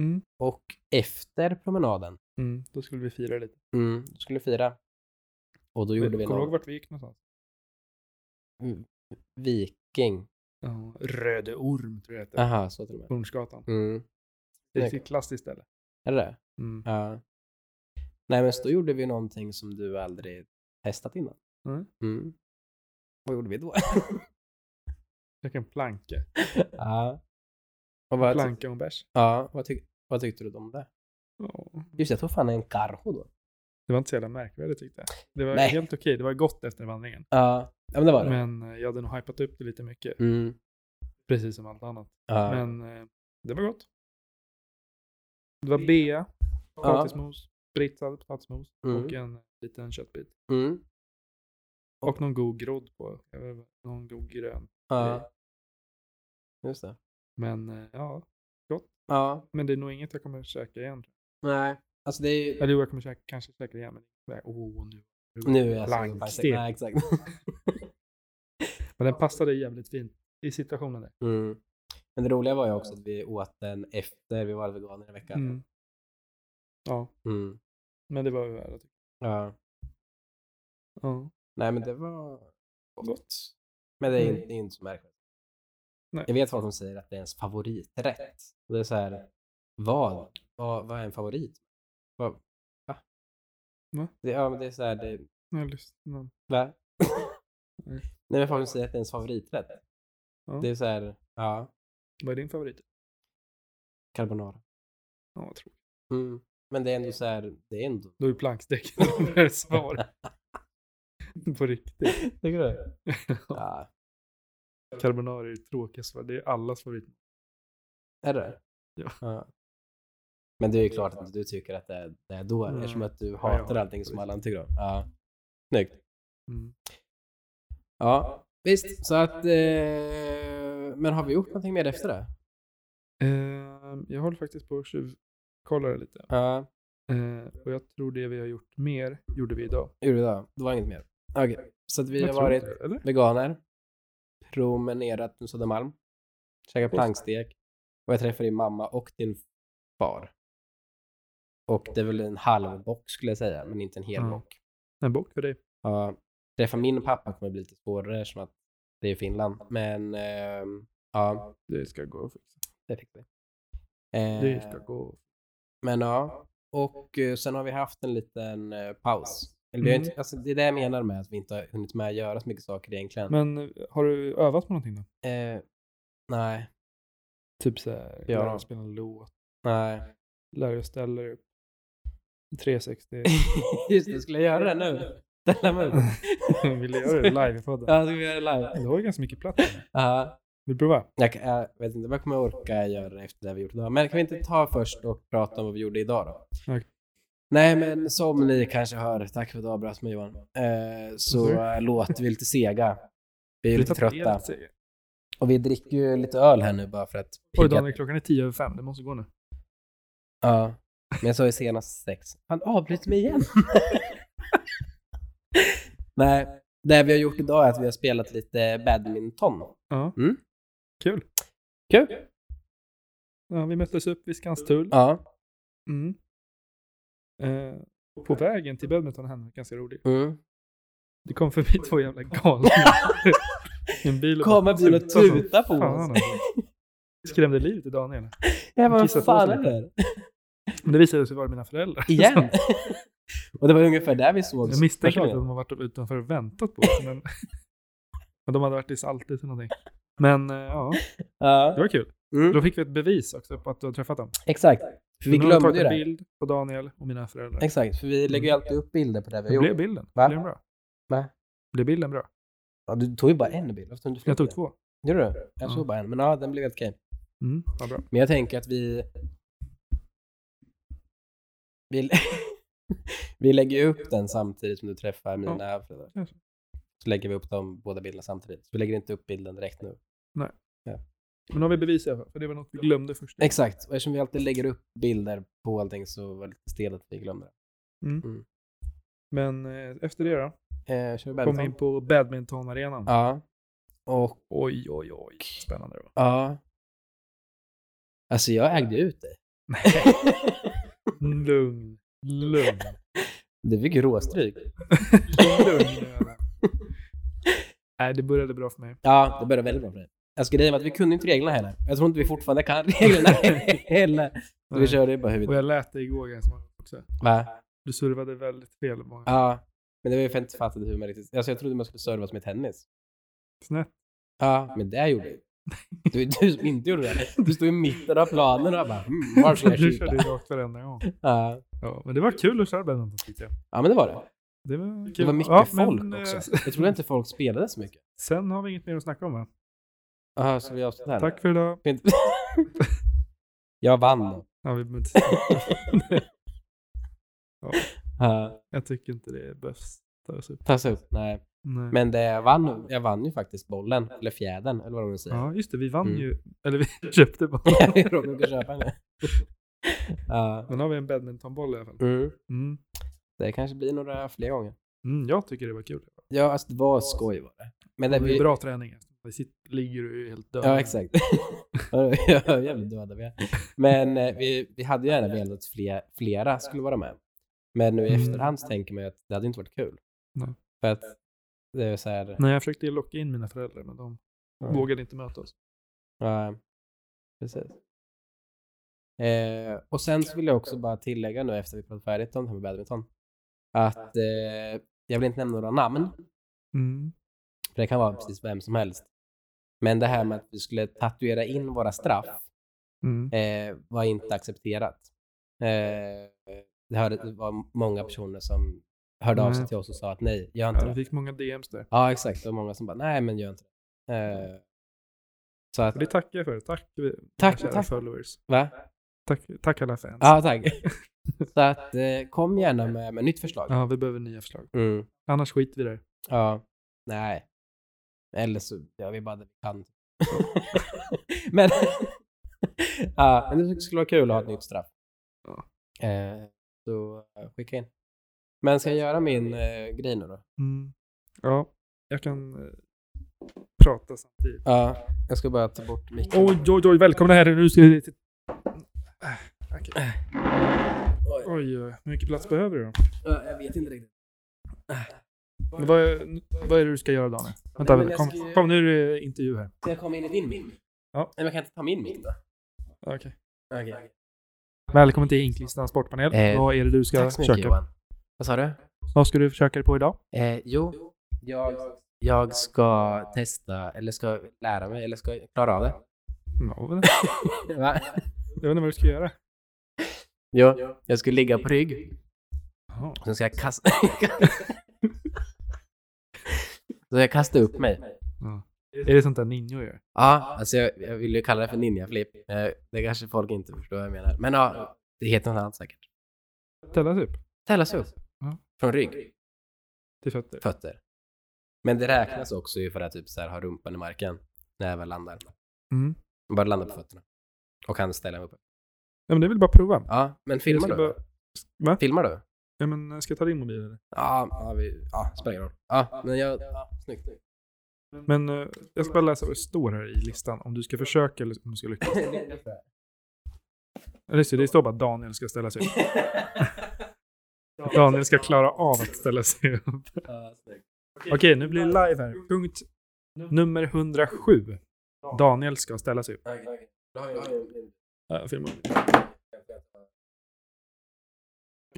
S1: Mm.
S2: Och efter promenaden,
S1: Mm, då skulle vi fira lite.
S2: mm, då skulle vi fira. Och då gjorde vi
S1: Kommer du ihåg
S2: någon
S1: vart vi gick någonstans?
S2: viking.
S1: Ja, Röde Orm tror jag det heter.
S2: Aha, så till och med.
S1: Hornsgatan.
S2: Mm.
S1: Det är
S2: Ah. Nej.
S1: ett klassiskt ställe.
S2: Är det det?
S1: Mm.
S2: Ja. Nej, men så då gjorde vi någonting som du aldrig testat innan.
S1: Mm.
S2: Mm. Vad gjorde vi då?
S1: Jag kan planka.
S2: ja. Och vad, ty-
S1: Planka och bärs.
S2: ja, vad, tyck- vad tyckte du om det?
S1: Ja.
S2: Just det, jag tog fan en carro då.
S1: Det var inte så jävla märkvärdigt tyckte jag. Det var
S2: Nej.
S1: helt okej. Det var gott efter vandringen.
S2: Ja, ja men det var det.
S1: Men eh, jag hade nog hypat upp det lite mycket.
S2: Mm.
S1: Precis som allt annat.
S2: Ja.
S1: Men eh, det var gott. Det var bea, potatismos, spritsad potatismos
S2: Mm.
S1: och en liten köttbit.
S2: Mm.
S1: Och någon god grodd på. Jag vet inte, Någon god grön.
S2: Ja. Just det.
S1: Men eh, ja,
S2: Ja,
S1: men det är nog inget jag kommer käka igen.
S2: nej. Alltså det är ju...
S1: Eller jo, jag kommer käka, kanske käka igen. Men det är, åh, nu.
S2: Nu är jag så
S1: Plankstek.
S2: Nej, exakt.
S1: Men den passade jävligt fint i situationen där.
S2: Mm. Men det roliga var ju också att vi åt den efter vi var veganer en vecka.
S1: Mm. Ja,
S2: Mm.
S1: men det var typ. ju värda.
S2: Ja.
S1: Ja.
S2: Nej, men det var...
S1: Gott.
S2: Men det är
S1: Mm.
S2: inte, det är inte så märkligt.
S1: Nej.
S2: Jag vet folk som säger att det är ens favoriträtt. Och det är så här, vad? Vad, vad är en favorit? Vad, va?
S1: Va?
S2: Det, ja, men det är så här, det,
S1: Jag lyssnar.
S2: va?
S1: Mm.
S2: Nej, men folk som säger att det är ens favoriträtt.
S1: Ja.
S2: Det är så här, ja,
S1: Vad är din favorit?
S2: carbonara.
S1: Ja, jag tror.
S2: Mm. Men det är ändå så här, det är ändå...
S1: Då är plankstek det är svar. På riktigt.
S2: Tycker du? ja.
S1: Carbonara är det tråkigaste. svar. Det är allas favorit.
S2: Är det?
S1: Ja.
S2: Men det är ju klart att du tycker att det är, det är då,
S1: Mm.
S2: eftersom att du
S1: jag
S2: hatar
S1: har-
S2: allting som alla andra tycker om. Ja. Snyggt.
S1: Mm.
S2: Ja, visst. Så att, eh, men har vi gjort någonting mer efter det?
S1: Ehm, jag håller faktiskt på att tjuvkolla det lite.
S2: Ja,
S1: Ehm, och jag tror det vi har gjort mer gjorde vi idag.
S2: gjorde vi det? Det var inget mer. Okej, så att vi
S1: Jag
S2: har
S1: tror
S2: varit
S1: det, eller?
S2: veganer, promenerat på Södermalm, käkat plankstek och jag träffade din mamma och din far. Och det är väl en halv bock skulle jag säga, men inte en hel
S1: Mm.
S2: bock.
S1: En bok för dig.
S2: Ja, träffa min pappa kommer bli lite svårare som att det är Finland. Men ehm, ja,
S1: Det ska gå att fixa.
S2: det fick vi.
S1: Det
S2: Eh,
S1: ska gå.
S2: Men ja, och eh, sen har vi haft en liten eh, paus. Eller vi har
S1: Mm.
S2: inte, alltså, det är det jag menar med att vi inte har hunnit med att göra så mycket saker egentligen.
S1: Men eh, har du övat på någonting då?
S2: eh, nej,
S1: Typ så här,
S2: Ja.
S1: lära dig spela en låt,
S2: nej.
S1: lära dig att ställa dig upp. 360.
S2: Just det, skulle jag göra det nu? Ställa mig upp.
S1: Vill du göra det live i podden?
S2: Ja, ska vi göra det live?
S1: Du har ju ganska mycket plats. här.
S2: Ja.
S1: Vill du prova?
S2: jag, kan- jag vet inte om jag kommer orka göra det efter det vi gjort idag. Men kan vi inte ta först och prata om vad vi gjorde idag då?
S1: Okej.
S2: Nej, men som ni kanske hör, tack för att du avbröt mig Johan, eh, så
S1: Sorry.
S2: eh, låter vi lite sega. Vi är lite
S1: Flyttat
S2: trötta.
S1: helt, säger jag.
S2: Och vi dricker ju lite öl här nu bara för att
S1: Oj
S2: pigga-
S1: Daniel, klockan är tio över fem. Det måste gå nu.
S2: Ja, men jag sa ju senast sex. Han avbryter mig igen. Nej, det vi har gjort idag är att vi har spelat lite badminton.
S1: Ja.
S2: Mm.
S1: Kul.
S2: Kul.
S1: Ja, vi möttes upp vid Skanstull.
S2: Ja.
S1: Mm. Eh, på vägen till badminton hände något ganska roligt.
S2: Mm.
S1: Det kom förbi två jävla galna i en bil och bara
S2: Kommer bilen och
S1: tutade som
S2: tuta på
S1: fan,
S2: oss.
S1: alltså. Skrämde livet i Daniel.
S2: Jag bara,
S1: Kissa
S2: vad
S1: på
S2: fan
S1: oss
S2: är det här?
S1: Men det visade sig vara mina föräldrar.
S2: Igen? och det var ungefär där vi sågs
S1: Jag misstänker
S2: första
S1: att de
S2: gången.
S1: har varit utanför och väntat på oss. Men, men de hade varit i Saltis eller någonting. Men eh, ja, det
S2: Ja.
S1: var kul.
S2: Mm.
S1: Då fick vi ett bevis också på att du har träffat dem.
S2: Exakt. För vi
S1: Men de har
S2: glömde
S1: tagit
S2: ju
S1: en
S2: det.
S1: bild på Daniel och mina föräldrar.
S2: Exakt, för vi lägger ju alltid upp bilder på det vi
S1: Hur Mm. blev
S2: gjorde.
S1: bilden?
S2: Va?
S1: Blev den bra?
S2: Va?
S1: Blev bilden bra?
S2: Ja, du tog ju bara en bild. Varför tog du fler
S1: Jag tog
S2: bilder?
S1: två.
S2: Gjorde du? Jag
S1: Ja.
S2: såg bara en, men ja, den blev helt okej.
S1: Mm, vad bra.
S2: Men jag tänker att vi... Vi, vi lägger ju upp den samtidigt som du träffar mina föräldrar.
S1: kanske.
S2: Så lägger vi upp de båda bilderna samtidigt. Så vi lägger inte upp bilden direkt nu.
S1: Men nu har vi bevis i alla fall, för det var något vi glömde först.
S2: Exakt, och eftersom vi alltid lägger upp bilder på allting så var det lite stelt att vi glömde det.
S1: Men eh, efter det då,
S2: Eh, kör vi
S1: kom vi
S2: badminton?
S1: in på badmintonarenan.
S2: Ja. Och,
S1: Oj, oj, oj. Spännande det var.
S2: ja. Alltså jag ägde ut dig.
S1: Mm, Lugn, lugn,
S2: Du fick ju råstryk.
S1: lugn. Öra. Nej, det började bra för mig.
S2: Ja, det började väldigt bra för dig. Alltså grejen var att vi kunde inte reglerna heller. Jag tror inte vi fortfarande kan reglerna heller. Så vi
S1: Nej.
S2: körde ju bara
S1: Eh,
S2: huvudet.
S1: Och jag lät dig gå ganska många också.
S2: Va?
S1: Du survade väldigt fel. Många.
S2: Ja, men det var ju för att jag inte fattade hur man riktigt... Alltså jag trodde man skulle serva som i tennis.
S1: Snett.
S2: Ja, men det gjorde jag ju. Det var ju du som inte gjorde det. Du stod i mitten av planen och bara mm, var ska jag
S1: Du
S2: skjuta?
S1: körde ju rakt varenda gång.
S2: Ja.
S1: Ja, men det var kul att köra badminton tyckte jag.
S2: ja, men det var det.
S1: Det var kul.
S2: Det var mycket
S1: ja, men,
S2: folk
S1: eh,
S2: också. Jag trodde inte folk spelade så mycket.
S1: Sen har vi inget mer att snacka om va?
S2: Jaha, så vi avslutar här?
S1: Tack för idag.
S2: Fint. Jag vann.
S1: Ja, vi, men-
S2: Ja,
S1: jag tycker inte det behövs tas upp.
S2: tas upp. Nej.
S1: Nej.
S2: Men eh, det jag vann, jag vann ju faktiskt bollen, eller fjädern, eller vad de nu säger.
S1: Ja, just det. Vi vann
S2: Mm.
S1: ju. Eller vi köpte bara.
S2: jag råkade inte köpa den. Ja.
S1: Men nu har vi en badmintonboll i alla fall.
S2: Mm.
S1: Mm.
S2: Det kanske blir några fler gånger.
S1: Mm, jag tycker det var kul.
S2: Ja, alltså det var skoj var det. Men det
S1: Det var ju
S2: vi...
S1: bra träning. Vi sitter, ligger och är helt döda.
S2: Ja, exakt. Ja, Jävligt döda vi är. Men eh, vi, vi hade ju gärna velat att fler, flera skulle vara med. Men nu i
S1: Mm.
S2: efterhand så tänker man ju att det hade inte varit kul.
S1: Nej.
S2: För att det är så här...
S1: Nej, jag försökte locka in mina föräldrar, men de
S2: Ja.
S1: vågade inte möta oss.
S2: Ja, precis. Eh, och sen så vill jag också bara tillägga nu efter vi pratat färdigt om det här med badminton. Att eh, jag vill inte nämna några namn.
S1: Mm.
S2: För det kan vara precis vem som helst. Men det här med att vi skulle tatuera in våra straff
S1: Mm.
S2: eh, var inte accepterat. Eh, det, hörde, det var många personer som hörde av sig
S1: Nej.
S2: till oss och sa att nej, gör inte
S1: Ja, vi
S2: det.
S1: fick många DMs där.
S2: Ja, exakt. Det var många som bara nej, men gör inte det. Eh, så att,
S1: Och det tackar jag för. Tack, vi-
S2: Tack,
S1: kära
S2: tack.
S1: followers.
S2: va?
S1: Tack, tack alla fans.
S2: Ja, tack. Alltså. så att eh, kom gärna med, med nytt förslag.
S1: Ja, vi behöver nya förslag.
S2: Mm,
S1: Annars skiter vi där.
S2: ja, nej. Eller så gör vi bara det vi kan. men, ja, men det skulle vara kul att ha ett nytt straff.
S1: Ja.
S2: Eh, så eh, skicka in. Men ska jag göra min eh, grej nu då?
S1: Mm. Ja, jag kan eh, prata samtidigt.
S2: Ja, jag ska bara ta bort micken.
S1: Oj, oj, oj, välkomna här. Nu ska vi... till- Äh, okej.
S2: Oj,
S1: Oj, oj, hur mycket plats behöver du då?
S2: ja, jag vet inte riktigt.
S1: Men vad, vad är det du ska göra Daniel? Vänta,
S2: Nej, men jag
S1: kom,
S2: ska ju-
S1: kom nu är det intervju här.
S2: Ska jag komma in i din mick?
S1: Ja.
S2: Nej, men jag kan inte ta min mick då.
S1: Okay.
S2: Okej.
S1: Välkommen till Inklistan sportpanel.
S2: Eh,
S1: vad är det du ska
S2: Tack så mycket
S1: försöka?
S2: Johan. Vad sa du?
S1: Vad ska du försöka dig på idag?
S2: Eh, jo, jag, jag ska testa, eller ska lära mig, eller ska klara av det.
S1: No.
S2: Va?
S1: Mm, Jag vet inte vad du ska göra.
S2: Jo, jag ska ligga på rygg,
S1: Jaha.
S2: sen ska jag kasta... så jag kastar upp mig.
S1: Är det sånt där Ninjo gör?
S2: Ja, alltså jag, jag vill ju kalla det för ninja flip. Eh, det kanske folk inte förstår vad jag menar. Men ja, det heter något annat säkert.
S1: Tällas upp
S2: Tällas upp.
S1: Ja.
S2: Från rygg,
S1: till fötter.
S2: fötter. Men det räknas också ju för att typ så här, ha rumpan i marken när jag väl landar.
S1: Mm.
S2: Jag bara landar på fötterna. Och kan ställa mig upp.
S1: Ja, men det är väl bara att prova.
S2: Ja, men filmar du?
S1: Jag ska bara- Va?
S2: Filmar du?
S1: Ja, men, eh, ska jag ta din mobil eller?
S2: Ja, ja, vi, ja spelar ingen roll. Ja, men jag... Ja, snyggt.
S1: Men eh, jag ska bara läsa vad det står här i listan. Om du ska försöka eller om du ska lyckas. Ja, Just det, det står bara Daniel ska ställa sig upp. Daniel ska klara av att ställa sig upp.
S2: Ja, snyggt.
S1: Okej, nu blir det live här. Punkt nummer 107. Daniel ska ställa sig upp.
S2: Okej, okej. Då har jag- då har jag-
S1: Ja, jag filmar.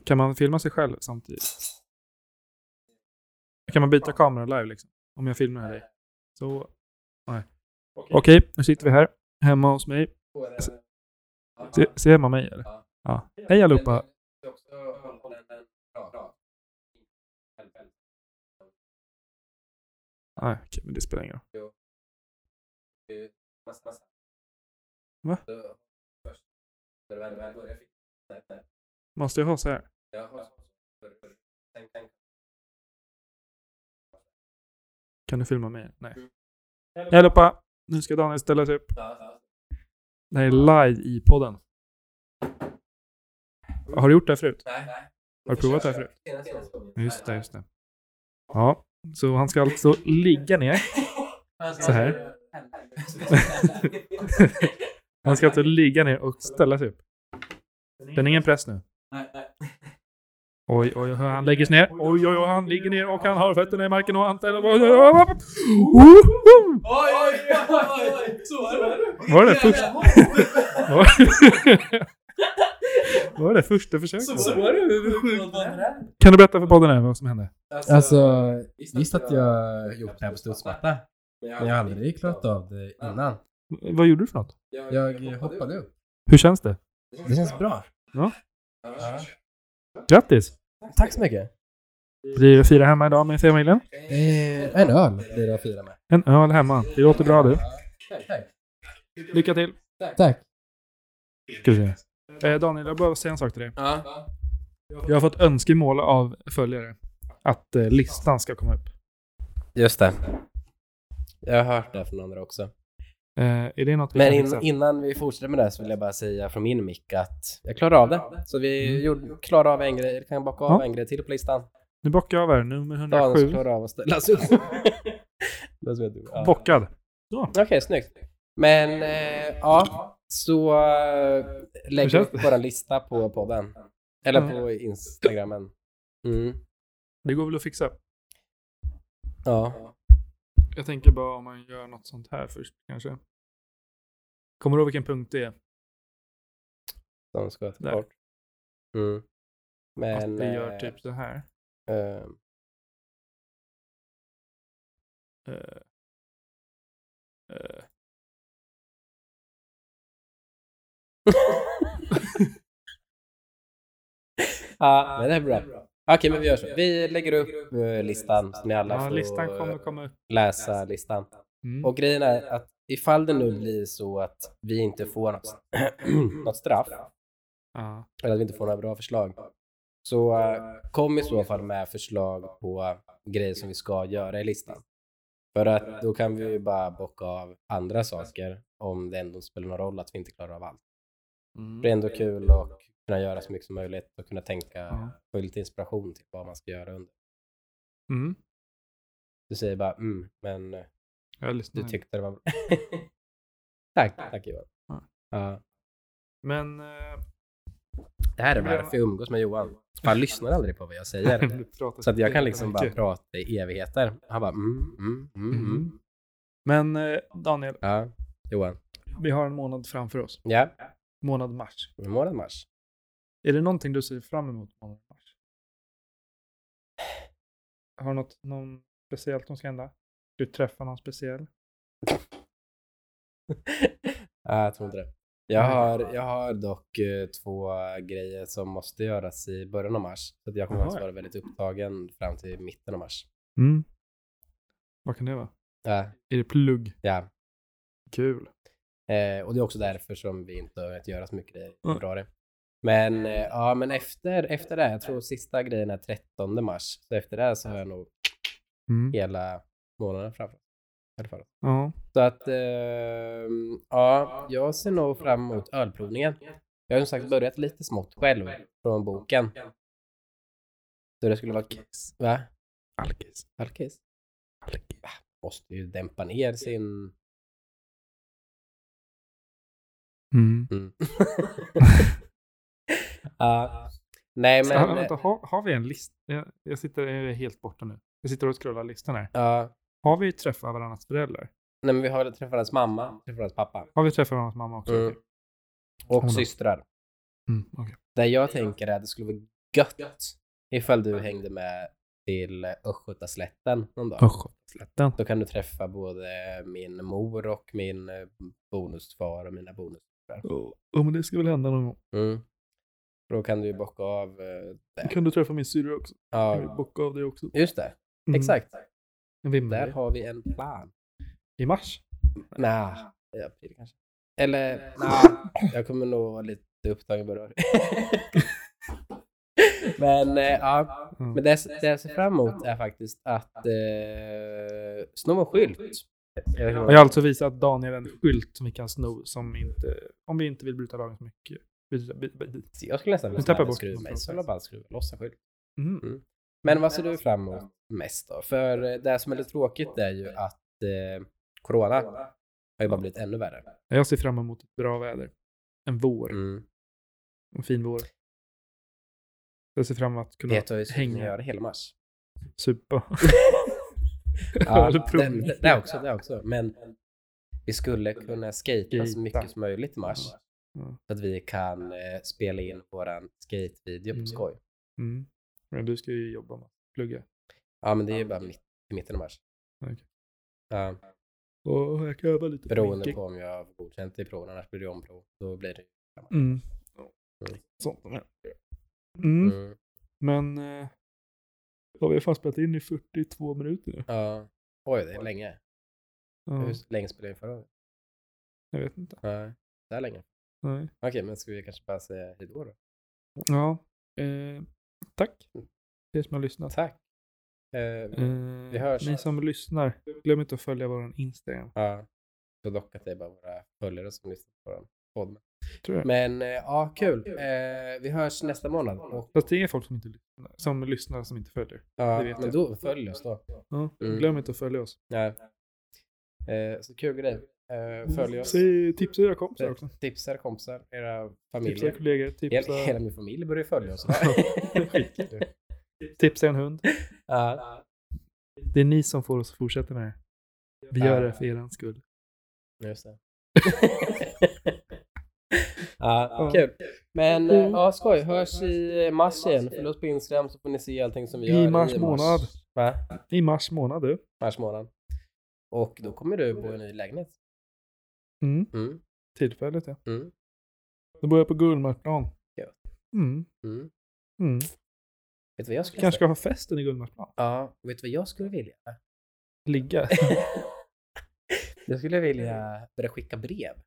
S1: Kan man filma sig själv samtidigt? Kan man byta kamera live liksom? Om jag filmar dig? Så, nej. Okej, nu sitter vi här. Hemma hos mig. Se, ser man mig eller? Ja. Hej allihopa. Nej, okej, men det spelar ingen roll. Va? Måste jag ha så här? Kan du filma mig? Nej. Hej allihopa! Nu ska Daniel ställa sig upp. Det här är live i podden. Har du gjort det här förut? Har du provat det här förut? Just det, just det. Ja, så han ska alltså ligga ner. Så här. Han ska alltså ligga ner och ställa sig upp. Det är ingen press nu. Oj, oj, oj, han lägger sig ner. Oj, oj, oj, han ligger ner och han har fötterna i marken och han ställer... Oj, oj, oj. Woho!
S3: Oj, oj, oj, oj, oj! Så var det!
S1: Var det först- Var var det första
S3: Så
S1: försöket?
S3: var det! Hur sjukt var det?
S1: Kan du berätta för podden här vad som hände?
S2: Alltså, visst att jag gjort det här på studsmatta, men jag har aldrig klarat av det innan.
S1: Vad gjorde du för något?
S2: Jag hoppade upp.
S1: Hur känns det?
S2: Det känns bra.
S1: Grattis!
S2: Tack så mycket.
S1: Blir det fira hemma idag med familjen?
S2: Eh, En öl blir det att fira med.
S1: En öl hemma. Det låter bra du.
S2: Tack.
S1: Lycka till!
S2: Tack.
S1: Ska vi se. Eh, Daniel, jag behöver säga en sak till dig.
S2: Ja.
S1: Jag har fått önskemål av följare att eh, listan ska komma upp.
S2: Just det. Jag har hört det från andra också.
S1: Eh, är det något vi
S2: Men
S1: kan
S2: in,
S1: fixa?
S2: innan vi fortsätter med det här så vill jag bara säga från min mick att jag klarar av det. Så vi gjorde, klarar av en grej, kan bocka av
S1: Ja.
S2: en grej till på listan.
S1: Nu bockar jag av här. Nummer
S2: Daniel
S1: 107.
S2: klarar av att ställa sig upp. Det ska jag inte- ja.
S1: Bockad.
S2: Okej, snyggt. Men eh, ja, så eh,
S1: Hur
S2: lägg
S1: känns
S2: upp vår lista på podden. Eller
S1: Ja.
S2: på Instagrammen. Mm.
S1: Det går väl att fixa.
S2: Ja.
S1: Jag tänker bara om man gör något sånt här först kanske. Kommer du ihåg vilken punkt det är?
S2: De ska ta
S1: Där.
S2: bort. Mm.
S1: Att
S2: Men...
S1: vi gör
S2: eh,
S1: typ så här.
S2: eh,
S1: Eh, eh.
S2: Ja, men det är bra. Okej, men vi gör så. Vi lägger upp eh, listan så ni alla
S1: Ja,
S2: får
S1: listan kommer
S2: eh,
S1: komma upp.
S2: läsa listan.
S1: Mm.
S2: Och grejen är att ifall det nu blir så att vi inte får något, något straff,
S1: Ja.
S2: eller att vi inte får några bra förslag, så eh, kom i så fall med förslag på grejer som vi ska göra i listan. För att då kan vi ju bara bocka av andra saker om det ändå spelar någon roll att vi inte klarar av allt.
S1: Mm.
S2: Det är ändå kul att kunna göra så mycket som möjligt och kunna tänka,
S1: Ja.
S2: få lite inspiration till vad man ska göra under.
S1: Mm.
S2: Du säger bara mm, men eh,
S1: Jag
S2: du
S1: lyssnar.
S2: tyckte det var bra. tack, tack Johan.
S1: Ja.
S2: Ja.
S1: Men eh,
S2: Det här är
S1: Men det
S2: varför jag umgås med Johan. För han lyssnar aldrig på vad jag säger.
S1: du pratar
S2: Så att jag kan
S1: jävla
S2: liksom bara
S1: mycket.
S2: prata i evigheter. Han bara mm, mm, mm, mm.
S1: Mm. Men eh, Daniel,
S2: Ja, Johan.
S1: vi har en månad framför oss.
S2: Ja,
S1: Månad mars.
S2: nu är månaden mars.
S1: Är det någonting du ser fram emot i månaden mars? Har du något någon speciellt som ska hända? Ska du träffa någon speciell?
S2: Ja, jag tror inte det. Jag har, jag har dock eh, två grejer som måste göras i början av mars. Så att jag kommer
S1: Jaha.
S2: att vara väldigt upptagen fram till mitten av mars.
S1: Mm. Vad kan det vara?
S2: Ja,
S1: Är det plugg?
S2: ja.
S1: Kul.
S2: Eh, och det är också därför som vi inte har att göra så mycket i
S1: Mm.
S2: februari. Men eh, ja, men efter, efter det, jag tror sista grejen är 13 mars. Så efter det så har jag nog
S1: Mm.
S2: hela månaden framför mig. För oss.
S1: Ja.
S2: Så att ehm, ja, jag ser nog fram emot ölprovningen. Jag har som sagt börjat lite smått själv från boken. Så det skulle vara... Va?
S1: Alkis.
S2: Alkis? Va? Måste ju dämpa ner sin...
S1: Mm.
S2: Mm. ja. Nej men... eh,
S1: ja, ah, vänta, har, har vi en lista? Jag, jag sitter jag är helt borta nu. Jag sitter och scrollar listan här.
S2: ja.
S1: Har vi träffat varandras föräldrar?
S2: Nej men vi har träffat hans mamma, träffat hans pappa
S1: Har vi träffat varandras mamma också?
S2: Mm.
S1: Okej.
S2: och
S1: Hon då?
S2: systrar.
S1: Mm, okej.
S2: Där jag tänker är att det skulle vara gött ifall du hängde med till Östgötaslätten någon dag.
S1: Slätten.
S2: Då kan du träffa både min mor och min eh, bonusfar och mina bonus.
S1: Ja, men det ska väl hända någon gång.
S2: Mm. Då kan du ju bocka av eh, det.
S1: Kan du träffa min syrra också? Kan vi
S2: Ja,
S1: bocka av det också?
S2: just det.
S1: Mm.
S2: Exakt.
S1: En
S2: Där
S1: Vimmerby.
S2: har vi en plan.
S1: Mm. I mars?
S2: Nja, i april kanske. Eller nja, jag kommer nog vara lite upptagen i början. Men eh, ja,
S1: Mm.
S2: Men det, jag- det jag ser fram emot är faktiskt att eh, sno en skylt.
S1: Och jag har alltså visat Daniel en skylt som vi kan sno som inte, om vi inte vill bryta lagen så mycket.
S2: Jag skulle nästan
S1: Nu
S2: vilja
S1: tappar
S2: ha en
S1: jag
S2: skruv
S1: bort
S2: mig,
S1: något.
S2: så jag bara skruva loss en skylt.
S1: Mm.
S2: Men vad ser du fram emot mest då? För eh, det som är lite tråkigt är ju att eh, corona har ju bara blivit ännu värre.
S1: Jag ser fram emot ett bra väder. En vår.
S2: Mm.
S1: En fin vår. Jag ser fram emot att kunna
S2: Det har ju så
S1: hänga.
S2: att göra hela mars.
S1: supa.
S2: Ja,
S1: Eller
S2: det,
S1: promenera.
S2: det- det också, det också. Men vi skulle kunna skata så mycket som möjligt i mars.
S1: Mm.
S2: Så att vi kan eh, spela in våran skatevideo på
S1: Mm.
S2: skoj.
S1: Mm. Men du ska ju jobba med plugga.
S2: Ja, men det är ju bara mitt, i mitten av mars.
S1: Okej.
S2: Ja,
S1: Och jag kan öva lite.
S2: beroende på om jag får godkänt i proven, annars blir det omprov. Då blir det
S1: Mm. Sånt. Mm.
S2: mm.
S1: Men... Eh, ja, vi har fan spelat in i 42 minuter nu.
S2: Ja. Oj, det är länge.
S1: Ja,
S2: Hur länge spelade vi förra gången?
S1: jag vet inte.
S2: Ja, så här länge.
S1: Nej.
S2: Okej, men ska vi kanske bara säga hej då då?
S1: Ja. Eh, tack. Det som har lyssnat.
S2: Mm. Tack. Eh,
S1: Eh,
S2: Vi hörs.
S1: Ni som lyssnar, glöm inte att följa vår Instagram.
S2: Ja. Så dock att det är bara våra följare som lyssnar på vår podd.
S1: Tror jag.
S2: Men eh, ja, kul. Eh, vi hörs nästa månad. Och,
S1: Fast det är folk som, inte lyssnar, som lyssnar som inte följer.
S2: ja,
S1: Det vet
S2: men
S1: jag.
S2: då följ oss då.
S1: Ja.
S2: Mm.
S1: Glöm inte att följa oss.
S2: Nej. Eh, så kul grej. Eh, följ oss.
S1: Se, tipsa era kompisar också.
S2: Tipsar kompisar, era
S1: Tipsa
S2: familjer.
S1: kollegor, tipsa,
S2: Hela, hela min familj börjar följa oss.
S1: Skitkul. tipsa en hund.
S2: Ja.
S1: Det är ni som får oss att fortsätta med det här. Vi
S2: Ja.
S1: gör det för er skull.
S2: Just det. ja, kul. Men
S1: Mm.
S2: eh, ja, skoj. Hörs i mars igen. Följ oss på Instagram så får ni se allting som vi
S1: I
S2: gör.
S1: mars månad.
S2: Va?
S1: I mars månad du.
S2: Mars månad. Och då kommer du bo i en ny lägenhet.
S1: Mm.
S2: Mm.
S1: Tillfälligt ja.
S2: Mm.
S1: Då bor jag på Gullmarsplan.
S2: Ja.
S1: Mm.
S2: Mm.
S1: Mm.
S2: Vet du vad jag
S1: Kanske
S2: skulle Kanske.
S1: ska ha festen i Gullmarsplan.
S2: Ja, vet du vad jag skulle vilja?
S1: Ligga.
S2: Jag skulle vilja börja skicka brev.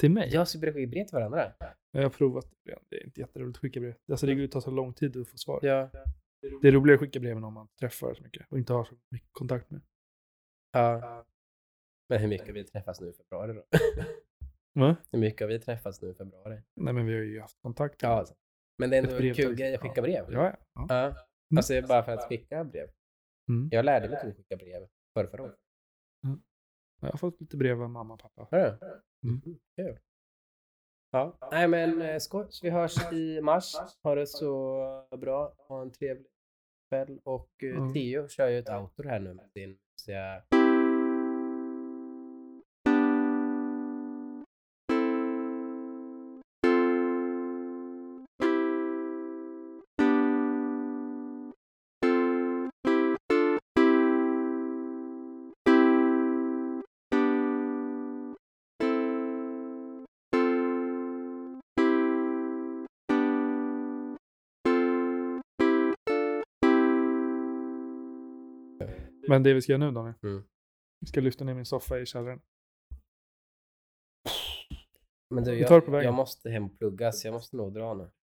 S1: Till mig.
S2: Jag ska börja skicka brev till varandra.
S1: Jag har provat det. redan. Det är inte jätteroligt att skicka brev. Alltså det tar så lång tid att få svar.
S2: Ja.
S1: Det är roligare att skicka brev än om man träffar så mycket och inte har så mycket kontakt med.
S2: ja. Men hur mycket har vi träffats nu i februari då?
S1: Va?
S2: Hur mycket har vi träffats nu i februari?
S1: Nej men vi har ju haft kontakt.
S2: Ja, alltså. Men det är ändå
S1: Ett brev
S2: en kul
S1: till-
S2: grej att skicka brev.
S1: Ja, Mm. ja. ja.
S2: Ja. Alltså det är bara för att skicka brev.
S1: Mm.
S2: Jag lärde mig inte att skicka brev förra förra året.
S1: Jag har fått lite brev av mamma och pappa.
S2: Har du?
S1: Mm.
S2: Kul. Ja, nej men eh, skoj. Så vi hörs i mars. Ha det så bra. Ha en trevlig kväll. Och eh,
S1: Mm.
S2: Theo kör ju ett outro här nu med sin så jag...
S1: Men det vi ska göra nu Daniel.
S2: Mm.
S1: Vi ska lyfta ner min soffa i källaren.
S2: Men du,
S1: Vi tar det på
S2: jag,
S1: vägen.
S2: jag måste hem och plugga så jag måste nog dra nu.